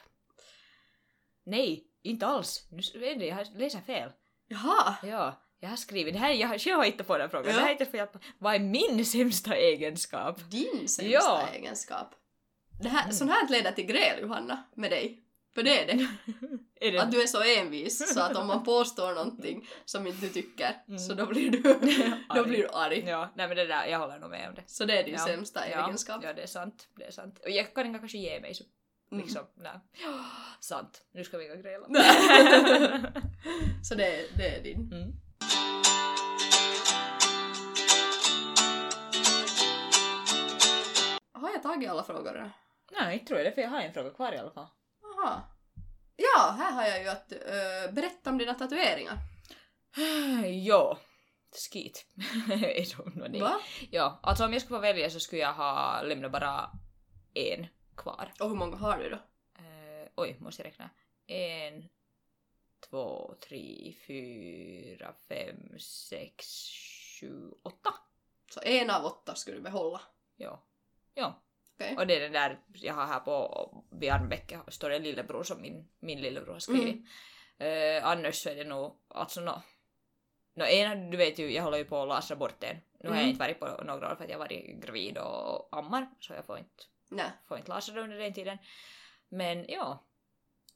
[SPEAKER 3] Nej, inte alls. Nu s- vänta, jag har- läser fel.
[SPEAKER 2] Jaha!
[SPEAKER 3] Ja, jag har skrivit, det här, jag har själv har hittat på den här frågan.
[SPEAKER 2] Ja.
[SPEAKER 3] Det här är inte för hjälp. Vad är min sämsta egenskap?
[SPEAKER 2] Din sämsta
[SPEAKER 3] Ja.
[SPEAKER 2] egenskap. Det här,
[SPEAKER 3] Mm.
[SPEAKER 2] Sånt här leder till gräl Johanna, med dig. För det är det.
[SPEAKER 3] Är det
[SPEAKER 2] Att du är så envis så att om man påstår någonting som inte du tycker
[SPEAKER 3] Mm.
[SPEAKER 2] så då blir du, då
[SPEAKER 3] Arg.
[SPEAKER 2] blir du arg.
[SPEAKER 3] Ja, nej men det där, jag håller nog med om det.
[SPEAKER 2] Så det är din
[SPEAKER 3] Ja.
[SPEAKER 2] sämsta
[SPEAKER 3] Ja,
[SPEAKER 2] egenskap.
[SPEAKER 3] ja, det är sant. Det är sant. Och jag kan inte kanske ge mig så.
[SPEAKER 2] Mm.
[SPEAKER 3] Liksom, nej. Sant. Nu ska vi gå och gräla.
[SPEAKER 2] Så det, är- det är din.
[SPEAKER 3] Mm.
[SPEAKER 2] Har jag tagit alla frågor redan?
[SPEAKER 3] Nej, inte tror jag det, för jag har en fråga kvar i alla fall.
[SPEAKER 2] Aha. Ja, här har jag ju att eh, berätta om dina tatueringar.
[SPEAKER 3] ja. Skit. I don't know. nej.
[SPEAKER 2] Va?
[SPEAKER 3] Ja, alltså om jag skulle få välja så skulle jag ha lämnat bara en kvar.
[SPEAKER 2] Och hur många har du då?
[SPEAKER 3] Eh, oj, måste jag räkna. En, två, tre, fyra, fem, sex, sju, åtta.
[SPEAKER 2] Så en av åtta skulle du behålla.
[SPEAKER 3] Ja. Ja.
[SPEAKER 2] Okej.
[SPEAKER 3] Och det är den där jag har här på vid armvecket står det lillebror som min, min lillebror har skrivit. Eh, annars så är det nog, alltså nå. No, ena, du vet ju, jag håller ju på att lasra bort den. Nu har jag
[SPEAKER 2] Mm.
[SPEAKER 3] inte varit på några år för att jag har varit gravid och ammar så jag får inte
[SPEAKER 2] Nej.
[SPEAKER 3] får inte läsa det under den tiden. Men ja.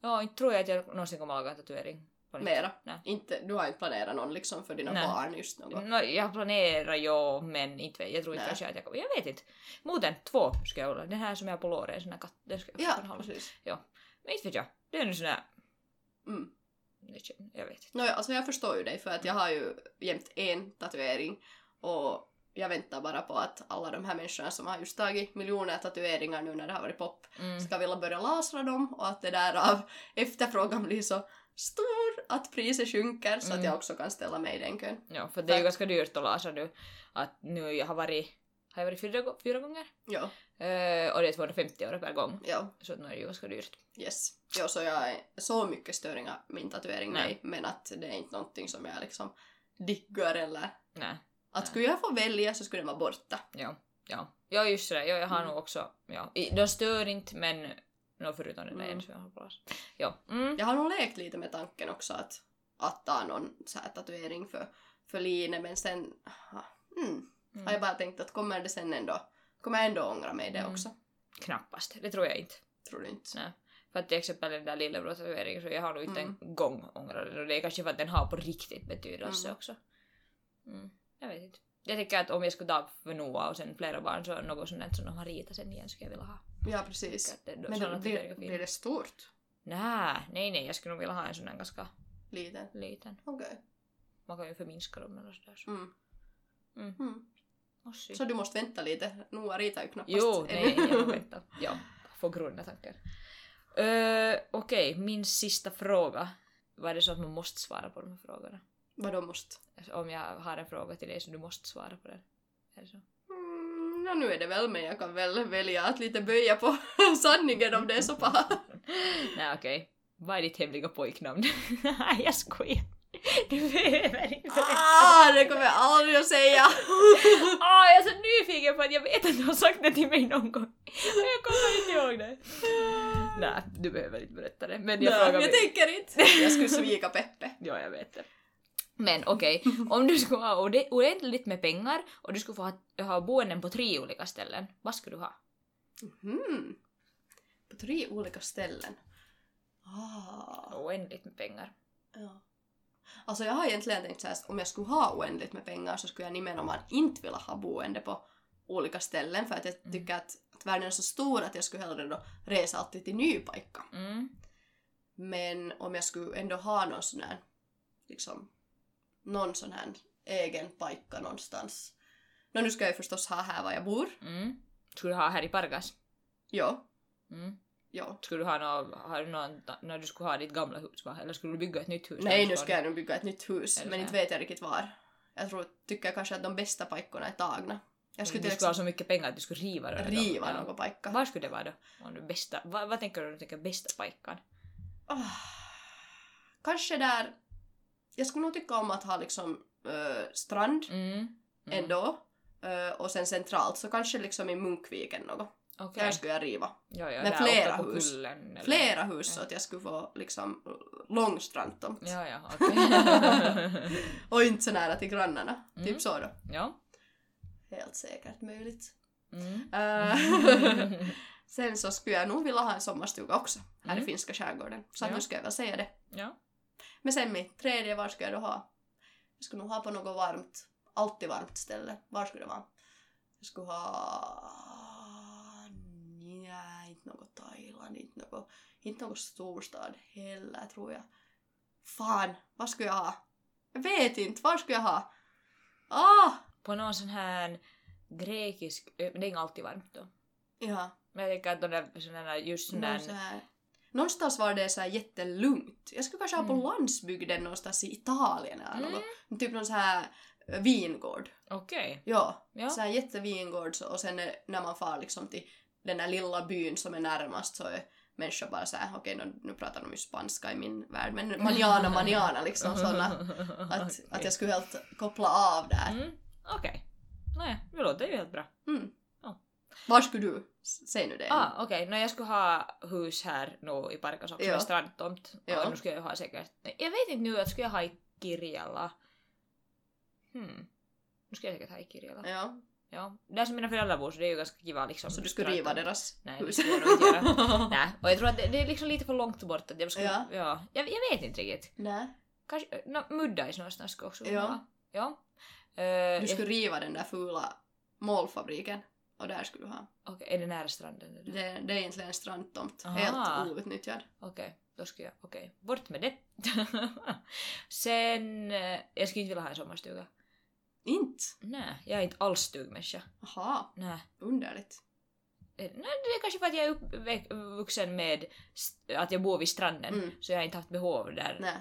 [SPEAKER 3] Ja, inte tror jag att jag någonsin kommer att laga en tatuering. på nytt.
[SPEAKER 2] Mera.
[SPEAKER 3] Nej.
[SPEAKER 2] Inte, du har inte planerat någon liksom för dina
[SPEAKER 3] Nej. Mm,
[SPEAKER 2] barn just något.
[SPEAKER 3] Nå, No, jag planerar jo, men inte vet, jag tror inte
[SPEAKER 2] Nej.
[SPEAKER 3] kanske att jag kommer. Jag vet inte. Moten, två ska jag hålla. Den här som jag har på låret, en sån här katt, den ska jag
[SPEAKER 2] Ja,
[SPEAKER 3] fortfarande hålla.
[SPEAKER 2] precis.
[SPEAKER 3] Men inte No, vet jag. Det är nu sån här,
[SPEAKER 2] Mm.
[SPEAKER 3] jag vet inte.
[SPEAKER 2] Nåja, alltså jag förstår ju dig för
[SPEAKER 3] Mm.
[SPEAKER 2] att jag har ju jämt en tatuering och jag väntar bara på att alla de här människorna som har just tagit miljoner tatueringar nu när det har varit pop
[SPEAKER 3] Mm.
[SPEAKER 2] ska vilja börja lasra dem och att det där av efterfrågan blir så stor att priset sjunker så att
[SPEAKER 3] Mm.
[SPEAKER 2] jag också kan ställa mig i den kön.
[SPEAKER 3] Ja, för det är ju
[SPEAKER 2] Tack.
[SPEAKER 3] ganska dyrt att lasa nu. Att nu jag har varit, har jag varit fyra, gå- fyra gånger?
[SPEAKER 2] Jo,
[SPEAKER 3] Eh, och det är 250 euro per gång.
[SPEAKER 2] jo,
[SPEAKER 3] Så att nu är det ju ganska dyrt.
[SPEAKER 2] yes. Jo, så jag är så mycket störning av min tatuering
[SPEAKER 3] Nej.
[SPEAKER 2] nej, men att det är inte någonting som jag liksom diggar eller
[SPEAKER 3] Nej.
[SPEAKER 2] att
[SPEAKER 3] Nej.
[SPEAKER 2] skulle jag få välja så skulle den vara borta.
[SPEAKER 3] Ja, ja. Ja just det, ja, jag har
[SPEAKER 2] Mm.
[SPEAKER 3] nog också, ja. I- De stör inte men, nå förutom den där
[SPEAKER 2] Mm.
[SPEAKER 3] en som jag har på laser. Ja. Mm.
[SPEAKER 2] Jag har nog lekt lite med tanken också att, att ta någon så här tatuering för, för Line men sen ah, mm, har jag
[SPEAKER 3] Mm.
[SPEAKER 2] bara tänkt att kommer det sen ändå, kommer jag ändå ångra mig det
[SPEAKER 3] Mm.
[SPEAKER 2] också?
[SPEAKER 3] Knappast, det tror jag inte.
[SPEAKER 2] Tror du inte?
[SPEAKER 3] Nej. För att till exempel den där lillebror-tatueringen så jag har nog inte
[SPEAKER 2] Mm.
[SPEAKER 3] en gång ångrat den och det är kanske för att den har på riktigt betydelse
[SPEAKER 2] Mm.
[SPEAKER 3] också. Mm. Jag vet inte. Jag tänker att om jag skulle ta för Noah och sen flera barn så något sånt där som de har ritat sen igen skulle jag vilja ha.
[SPEAKER 2] Ja precis.
[SPEAKER 3] Att det- då-
[SPEAKER 2] Men
[SPEAKER 3] sådana
[SPEAKER 2] det,
[SPEAKER 3] tatueringar
[SPEAKER 2] blir,
[SPEAKER 3] är fina.
[SPEAKER 2] blir det stort?
[SPEAKER 3] Nä, nej nej, jag skulle nog vilja ha en sån där ganska
[SPEAKER 2] Liten?
[SPEAKER 3] liten.
[SPEAKER 2] Okej.
[SPEAKER 3] Man kan ju förminska dem eller sådär. Så.
[SPEAKER 2] Mm.
[SPEAKER 3] Mm.
[SPEAKER 2] Mm.
[SPEAKER 3] Och sy.
[SPEAKER 2] Så du måste vänta lite, Noa ritar ju knappast
[SPEAKER 3] Jo,
[SPEAKER 2] ännu.
[SPEAKER 3] nej, jag väntar. Ja, får grunda tankar. Öö, Okej, min sista fråga. Var det så att man måste svara på de här frågorna?
[SPEAKER 2] Vadå måste?
[SPEAKER 3] Alltså, Om jag har en fråga till dig så du måste svara på den. Är det så?
[SPEAKER 2] Mm, no, nu är det väl men jag kan väl välja att lite böja på sanningen om det är så paha.
[SPEAKER 3] Nej okej. Vad är ditt hemliga pojknamn? Nej jag skojar. Du behöver inte berätta.
[SPEAKER 2] Ah, det kommer jag aldrig att säga!
[SPEAKER 3] Ah, jag är så nyfiken på att jag vet att du har sagt det till mig någon gång. Och jag kommer inte ihåg det. Nej, du behöver inte berätta det. Men jag
[SPEAKER 2] Ah. Nej,
[SPEAKER 3] frågar
[SPEAKER 2] jag
[SPEAKER 3] mig-
[SPEAKER 2] tänker inte. Jag skulle svika Peppe.
[SPEAKER 3] Ja, jag vet det. Men okej, om du skulle ha orde- oändligt med pengar och du skulle få ha, ha boenden på tre olika ställen, vad skulle du ha?
[SPEAKER 2] Hmm. På tre olika ställen. Ah.
[SPEAKER 3] Oändligt med pengar.
[SPEAKER 2] Ja. Alltså jag har egentligen tänkt såhär att om jag skulle ha oändligt med pengar så skulle jag nimenomaan inte vilja ha boende på olika ställen för att jag tycker att, att världen är så stor att jag skulle hellre då resa alltid till ny paikka.
[SPEAKER 3] Mm.
[SPEAKER 2] Men om jag skulle ändå ha någon sån här, liksom, någon sån här egen paikka någonstans. Nå nu ska jag ju förstås ha här var jag bor.
[SPEAKER 3] Mm. Skulle du ha här i Pargas?
[SPEAKER 2] Jo,
[SPEAKER 3] Mm.
[SPEAKER 2] jo.
[SPEAKER 3] Skulle du ha nå- har du någon, när du skulle ha ditt gamla hus va? Eller skulle du bygga ett nytt hus?
[SPEAKER 2] Nej, nu ska jag nog bygga ett nytt
[SPEAKER 3] Är
[SPEAKER 2] hus,
[SPEAKER 3] det
[SPEAKER 2] men
[SPEAKER 3] så
[SPEAKER 2] inte
[SPEAKER 3] här?
[SPEAKER 2] vet jag riktigt var. Jag tror, tycker kanske att de bästa pajkorna är tagna. Jag skulle till
[SPEAKER 3] skulle du skulle Mm, ha
[SPEAKER 2] exempel
[SPEAKER 3] så mycket pengar att du skulle riva det.
[SPEAKER 2] riva någon paikka.
[SPEAKER 3] Var skulle det vara då? Om du bästa, vad, vad tänker du om du tänker bästa paikan?
[SPEAKER 2] Ah. Kanske där... Jag skulle nog tycka om att ha liksom eh, strand
[SPEAKER 3] Mm. Mm.
[SPEAKER 2] ändå. Eh, och sen centralt, så kanske liksom i Munkviken något.
[SPEAKER 3] Okej.
[SPEAKER 2] Där skulle jag riva.
[SPEAKER 3] Ja, ja,
[SPEAKER 2] Men
[SPEAKER 3] där uppe
[SPEAKER 2] flera
[SPEAKER 3] på
[SPEAKER 2] hus.
[SPEAKER 3] kullen, eller-
[SPEAKER 2] Flera hus så
[SPEAKER 3] Ja.
[SPEAKER 2] att jag skulle få liksom långstrandtomt.
[SPEAKER 3] Ja, ja, okej.
[SPEAKER 2] Och inte så nära till grannarna.
[SPEAKER 3] Mm.
[SPEAKER 2] Typ så då.
[SPEAKER 3] ja.
[SPEAKER 2] Helt säkert möjligt.
[SPEAKER 3] Mm.
[SPEAKER 2] Eh, Sen så skulle jag nog vilja ha en sommarstuga också, här
[SPEAKER 3] Mm.
[SPEAKER 2] i finska skärgården. Så att
[SPEAKER 3] Ja.
[SPEAKER 2] nu skulle jag väl säga det.
[SPEAKER 3] ja.
[SPEAKER 2] Men sen mitt tredje, var skulle jag då ha? Jag skulle nog ha på något varmt, alltid varmt ställe. Var skulle det vara? Jag skulle ha... Nej, inte något Thailand, inte något, inte något storstad heller tror jag. Fan, vad skulle jag ha? Jag vet inte, var skulle jag ha? Ah!
[SPEAKER 3] På någon sån här grekisk ö, det är inte alltid varmt då.
[SPEAKER 2] Ja.
[SPEAKER 3] Men jag tänker att de där sådana just
[SPEAKER 2] Någon
[SPEAKER 3] sådana...
[SPEAKER 2] så här... Någonstans var det så här jättelugnt. Jag skulle kanske ha på
[SPEAKER 3] Mm.
[SPEAKER 2] landsbygden någonstans i Italien eller
[SPEAKER 3] Mm.
[SPEAKER 2] något. Typ någon så här eh, vingård.
[SPEAKER 3] Okej.
[SPEAKER 2] Ja,
[SPEAKER 3] Ja.
[SPEAKER 2] så här jättevingård så- och sen eh, när man far liksom till den där lilla byn som är närmast så är människor bara så här, okej nu, nu pratar de ju spanska i min värld men manjana manjana liksom sådana. Att,
[SPEAKER 3] Okej.
[SPEAKER 2] att jag skulle helt koppla av där.
[SPEAKER 3] Mm. Okej. Nej, det låter ju helt bra.
[SPEAKER 2] Mm.
[SPEAKER 3] Ja.
[SPEAKER 2] Var skulle du? S- Säg nu det.
[SPEAKER 3] Ah, okej. No, jag skulle ha hus här nu i Parkas också
[SPEAKER 2] Joo.
[SPEAKER 3] med strandtomt.
[SPEAKER 2] Joo.
[SPEAKER 3] Ja. Nu skulle jag ha säkert... Nej, Jag vet inte nu, att skulle jag ha i Kirjala? Hmm. Nu skulle jag säkert ha i Kirjala.
[SPEAKER 2] Ja,
[SPEAKER 3] Ja. Där som mina föräldrar bor så det är ju ganska kiva liksom.
[SPEAKER 2] så du skulle riva
[SPEAKER 3] strandtomt.
[SPEAKER 2] deras
[SPEAKER 3] Nej, det
[SPEAKER 2] hus?
[SPEAKER 3] skulle jag nog inte göra. Nej, och jag tror att det, det är liksom lite för långt bort att jag skulle...
[SPEAKER 2] Ja.
[SPEAKER 3] Ja. Jag, jag vet inte riktigt.
[SPEAKER 2] Nej.
[SPEAKER 3] Kanske... No, Muddais någonstans skulle också
[SPEAKER 2] Ja.
[SPEAKER 3] vara. Ja. Eh,
[SPEAKER 2] Du
[SPEAKER 3] jag-
[SPEAKER 2] skulle riva den där fula målfabriken och där skulle du ha.
[SPEAKER 3] Okej, är det nära stranden? eller?
[SPEAKER 2] Det, det är egentligen en strandtomt.
[SPEAKER 3] Aha.
[SPEAKER 2] Helt outnyttjad.
[SPEAKER 3] Okej, då ska jag... Okej, bort med det. Sen... eh, Jag skulle inte vilja ha en sommarstuga.
[SPEAKER 2] Inte?
[SPEAKER 3] Nej, jag är inte alls stugmänniska.
[SPEAKER 2] Aha,
[SPEAKER 3] Nej.
[SPEAKER 2] underligt.
[SPEAKER 3] Eh, Nej, det är kanske för att jag är uppvuxen med st- att jag bor vid stranden.
[SPEAKER 2] Mm.
[SPEAKER 3] Så jag har inte haft behov där.
[SPEAKER 2] Nej.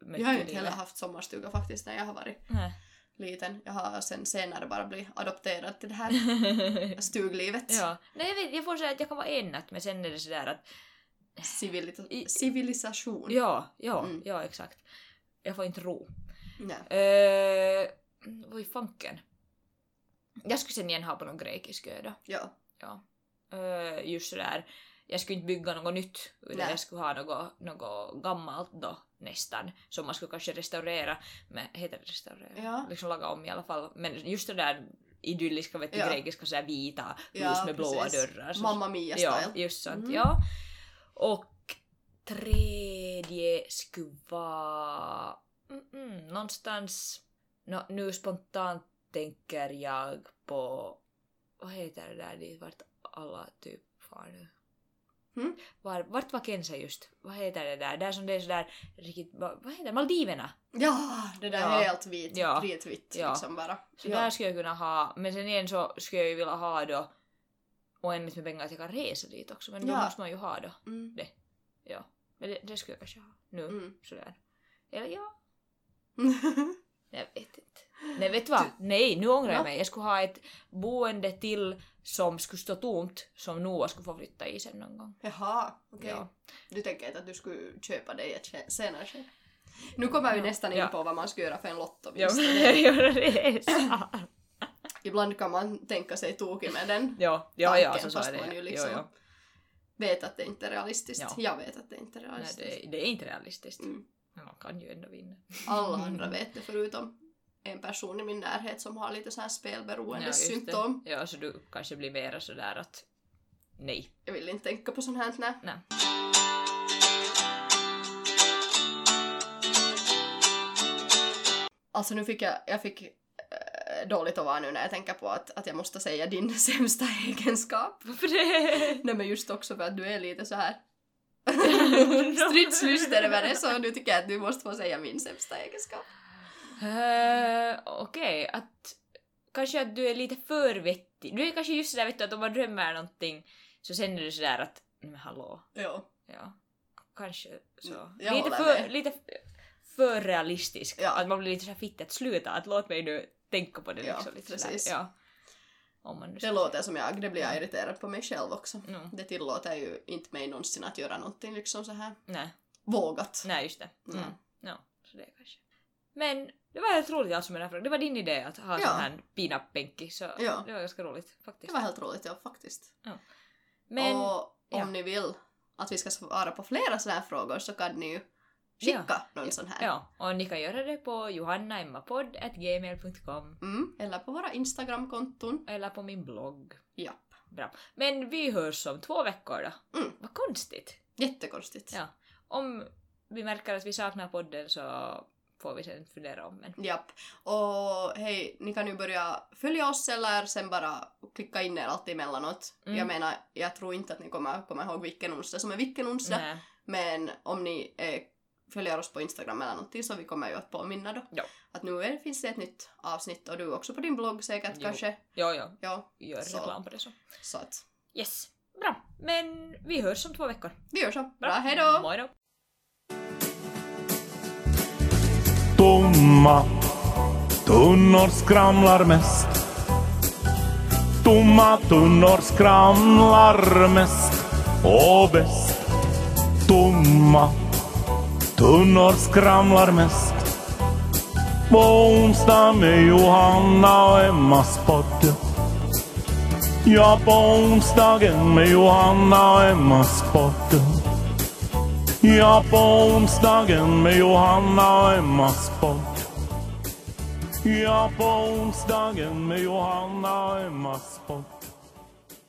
[SPEAKER 3] mycket
[SPEAKER 2] Jag har ju
[SPEAKER 3] i
[SPEAKER 2] inte
[SPEAKER 3] livet.
[SPEAKER 2] heller haft sommarstuga faktiskt när jag har varit
[SPEAKER 3] Nej.
[SPEAKER 2] liten. Jag har sen senare bara blivit adopterad till det här stuglivet.
[SPEAKER 3] ja. Nej, jag, vet, jag får säga att jag kan vara en natt men sen är det sådär att...
[SPEAKER 2] Civili-
[SPEAKER 3] I-
[SPEAKER 2] civilisation.
[SPEAKER 3] Ja, ja,
[SPEAKER 2] Mm.
[SPEAKER 3] ja exakt. Jag får inte ro.
[SPEAKER 2] Nej.
[SPEAKER 3] Eh, vad i fanken? Jag skulle sen igen ha på någon grekisk ö då.
[SPEAKER 2] Ja.
[SPEAKER 3] Eh, just sådär, jag skulle inte bygga något nytt utan
[SPEAKER 2] Nej.
[SPEAKER 3] jag skulle ha något, något gammalt då nästan som man skulle kanske restaurera, men heter det restaurera?
[SPEAKER 2] Ja.
[SPEAKER 3] Liksom laga om i alla fall. Men just det där idylliska, vet du,
[SPEAKER 2] Ja.
[SPEAKER 3] grekiska sådär vita hus
[SPEAKER 2] Ja,
[SPEAKER 3] med blåa
[SPEAKER 2] precis.
[SPEAKER 3] dörrar. så-
[SPEAKER 2] Mamma Mia
[SPEAKER 3] Alltså, Ja,
[SPEAKER 2] style.
[SPEAKER 3] just sånt,
[SPEAKER 2] Mm.
[SPEAKER 3] ja. Och tredje skulle vara mm, mm, någonstans, no, nu spontant tänker jag på, vad heter det där dit vart alla typ far nu?
[SPEAKER 2] Mm.
[SPEAKER 3] Var, vart var Kenza just? Vad heter det där? Där som det är sådär riktigt, vad, vad heter det? Maldiverna?
[SPEAKER 2] Ja, det där
[SPEAKER 3] Ja.
[SPEAKER 2] helt vit,
[SPEAKER 3] Ja.
[SPEAKER 2] kritvitt
[SPEAKER 3] Ja.
[SPEAKER 2] liksom bara.
[SPEAKER 3] Så
[SPEAKER 2] Ja.
[SPEAKER 3] där skulle jag kunna ha, men sen igen så skulle jag ju vilja ha då oändligt med pengar att jag kan resa dit också men
[SPEAKER 2] Ja.
[SPEAKER 3] då måste man ju ha då.
[SPEAKER 2] Mm.
[SPEAKER 3] Ja. Men det, det skulle jag kanske ha nu.
[SPEAKER 2] Mm.
[SPEAKER 3] Sådär. Eller ja, jag vet inte. Nej vet du vad? Nej, nu ångrar
[SPEAKER 2] Ja.
[SPEAKER 3] jag mig. Jag skulle ha ett boende till som skulle stå tomt som Noah skulle få flytta i sen någon gång.
[SPEAKER 2] Jaha, okej.
[SPEAKER 3] Ja.
[SPEAKER 2] Du tänker inte att du skulle köpa det i ett ske- senare skede? Nu kommer vi nästan in
[SPEAKER 3] Ja.
[SPEAKER 2] på vad man ska göra för en
[SPEAKER 3] Ja,
[SPEAKER 2] lottovinst.
[SPEAKER 3] jag gör det. sant.
[SPEAKER 2] Ibland kan man tänka sig tokig med den.
[SPEAKER 3] ja, ja, ja,
[SPEAKER 2] tanken,
[SPEAKER 3] så sa
[SPEAKER 2] fast
[SPEAKER 3] jag det.
[SPEAKER 2] man ju liksom-
[SPEAKER 3] Jo, jo.
[SPEAKER 2] Vet att det inte är realistiskt.
[SPEAKER 3] Ja.
[SPEAKER 2] Jag vet att det inte är
[SPEAKER 3] Nej,
[SPEAKER 2] realistiskt.
[SPEAKER 3] det, det är inte realistiskt.
[SPEAKER 2] Mm.
[SPEAKER 3] Men man kan ju ändå vinna.
[SPEAKER 2] Alla andra vet det förutom en person i min närhet som har lite så här spelberoende
[SPEAKER 3] just det.
[SPEAKER 2] symptom.
[SPEAKER 3] Ja, så du kanske blir mera sådär att nej.
[SPEAKER 2] Jag vill inte tänka på sånt här. Nej.
[SPEAKER 3] nej.
[SPEAKER 2] Alltså nu fick jag, jag fick eh, dåligt att vara nu när jag tänker på att, att jag måste säga din sämsta egenskap.
[SPEAKER 3] Varför det?
[SPEAKER 2] Nej men just också för att du är lite så här stridslyster över det så nu tycker jag att du måste få säga min sämsta egenskap.
[SPEAKER 3] Eh, Okej, att kanske att du är lite för vettig. Du är kanske just sådär vet du att om man drömmer någonting så sen är du sådär att "Nej, men hallå,
[SPEAKER 2] Jo.
[SPEAKER 3] ja. Kanske så.
[SPEAKER 2] Mm, Jag
[SPEAKER 3] lite
[SPEAKER 2] håller
[SPEAKER 3] för,
[SPEAKER 2] med.
[SPEAKER 3] lite för realistisk.
[SPEAKER 2] Ja.
[SPEAKER 3] Att man blir lite såhär fitt att sluta, att låt mig nu tänka på det
[SPEAKER 2] Ja,
[SPEAKER 3] liksom. Lite
[SPEAKER 2] precis.
[SPEAKER 3] Sådär. Ja, Om man nu
[SPEAKER 2] Det
[SPEAKER 3] ska
[SPEAKER 2] låter som jag, det blir jag
[SPEAKER 3] Mm.
[SPEAKER 2] irriterad på mig själv också.
[SPEAKER 3] säga. No,
[SPEAKER 2] Det tillåter ju inte mig någonsin att göra någonting liksom så här
[SPEAKER 3] nej,
[SPEAKER 2] vågat.
[SPEAKER 3] nej just det. Mm.
[SPEAKER 2] Mm.
[SPEAKER 3] No, så det kanske. Men det var helt roligt alltså med den här frågan. Det var din idé att ha
[SPEAKER 2] Ja.
[SPEAKER 3] sån här pin-up-bänki så
[SPEAKER 2] Ja.
[SPEAKER 3] det var ganska roligt faktiskt.
[SPEAKER 2] Det var helt roligt ja, faktiskt.
[SPEAKER 3] Men
[SPEAKER 2] och om
[SPEAKER 3] ja.
[SPEAKER 2] ni vill att vi ska svara på flera sådana här frågor så kan ni ju skicka någon sån här.
[SPEAKER 3] Ja, och ni kan göra det på johannaimmapodd.gmail.com
[SPEAKER 2] Mm, eller på våra Instagramkonton.
[SPEAKER 3] eller på min blogg.
[SPEAKER 2] Japp.
[SPEAKER 3] Bra. Men vi hörs om två veckor då.
[SPEAKER 2] Mm.
[SPEAKER 3] Vad konstigt.
[SPEAKER 2] Jättekonstigt.
[SPEAKER 3] Ja. Om vi märker att vi saknar podden så får vi sen fundera om en.
[SPEAKER 2] Japp. Och hej, ni kan ju börja följa oss eller sen bara klicka in er alltid emellanåt.
[SPEAKER 3] Mm.
[SPEAKER 2] Jag menar, jag tror inte att ni kommer komma ihåg vilken onsdag som är vilken onsdag.
[SPEAKER 3] Nä.
[SPEAKER 2] Men om ni eh, följer oss på Instagram eller någonting så vi kommer ju att påminna då.
[SPEAKER 3] Ja.
[SPEAKER 2] Att nu är, finns det ett nytt avsnitt och du också på din blogg säkert
[SPEAKER 3] Jo.
[SPEAKER 2] kanske.
[SPEAKER 3] Jo, jo.
[SPEAKER 2] Ja,
[SPEAKER 3] Gör
[SPEAKER 2] Så.
[SPEAKER 3] reklam på det så.
[SPEAKER 2] så att
[SPEAKER 3] Yes, bra. Men vi hörs om två veckor.
[SPEAKER 2] Vi gör så. Bra, hejdå!
[SPEAKER 3] Mojdå!
[SPEAKER 1] Tomma tunnor skramlar mest. Tomma tunnor skramlar mest och bäst. Tomma tunnor skramlar mest. På onsdag med Johanna och Emmas podd. Ja, på onsdagen med Johanna och Emmas podd. Ja, på onsdagen med Johanna och Emma Sport. Ja, på onsdagen med Johanna och Emma Sport.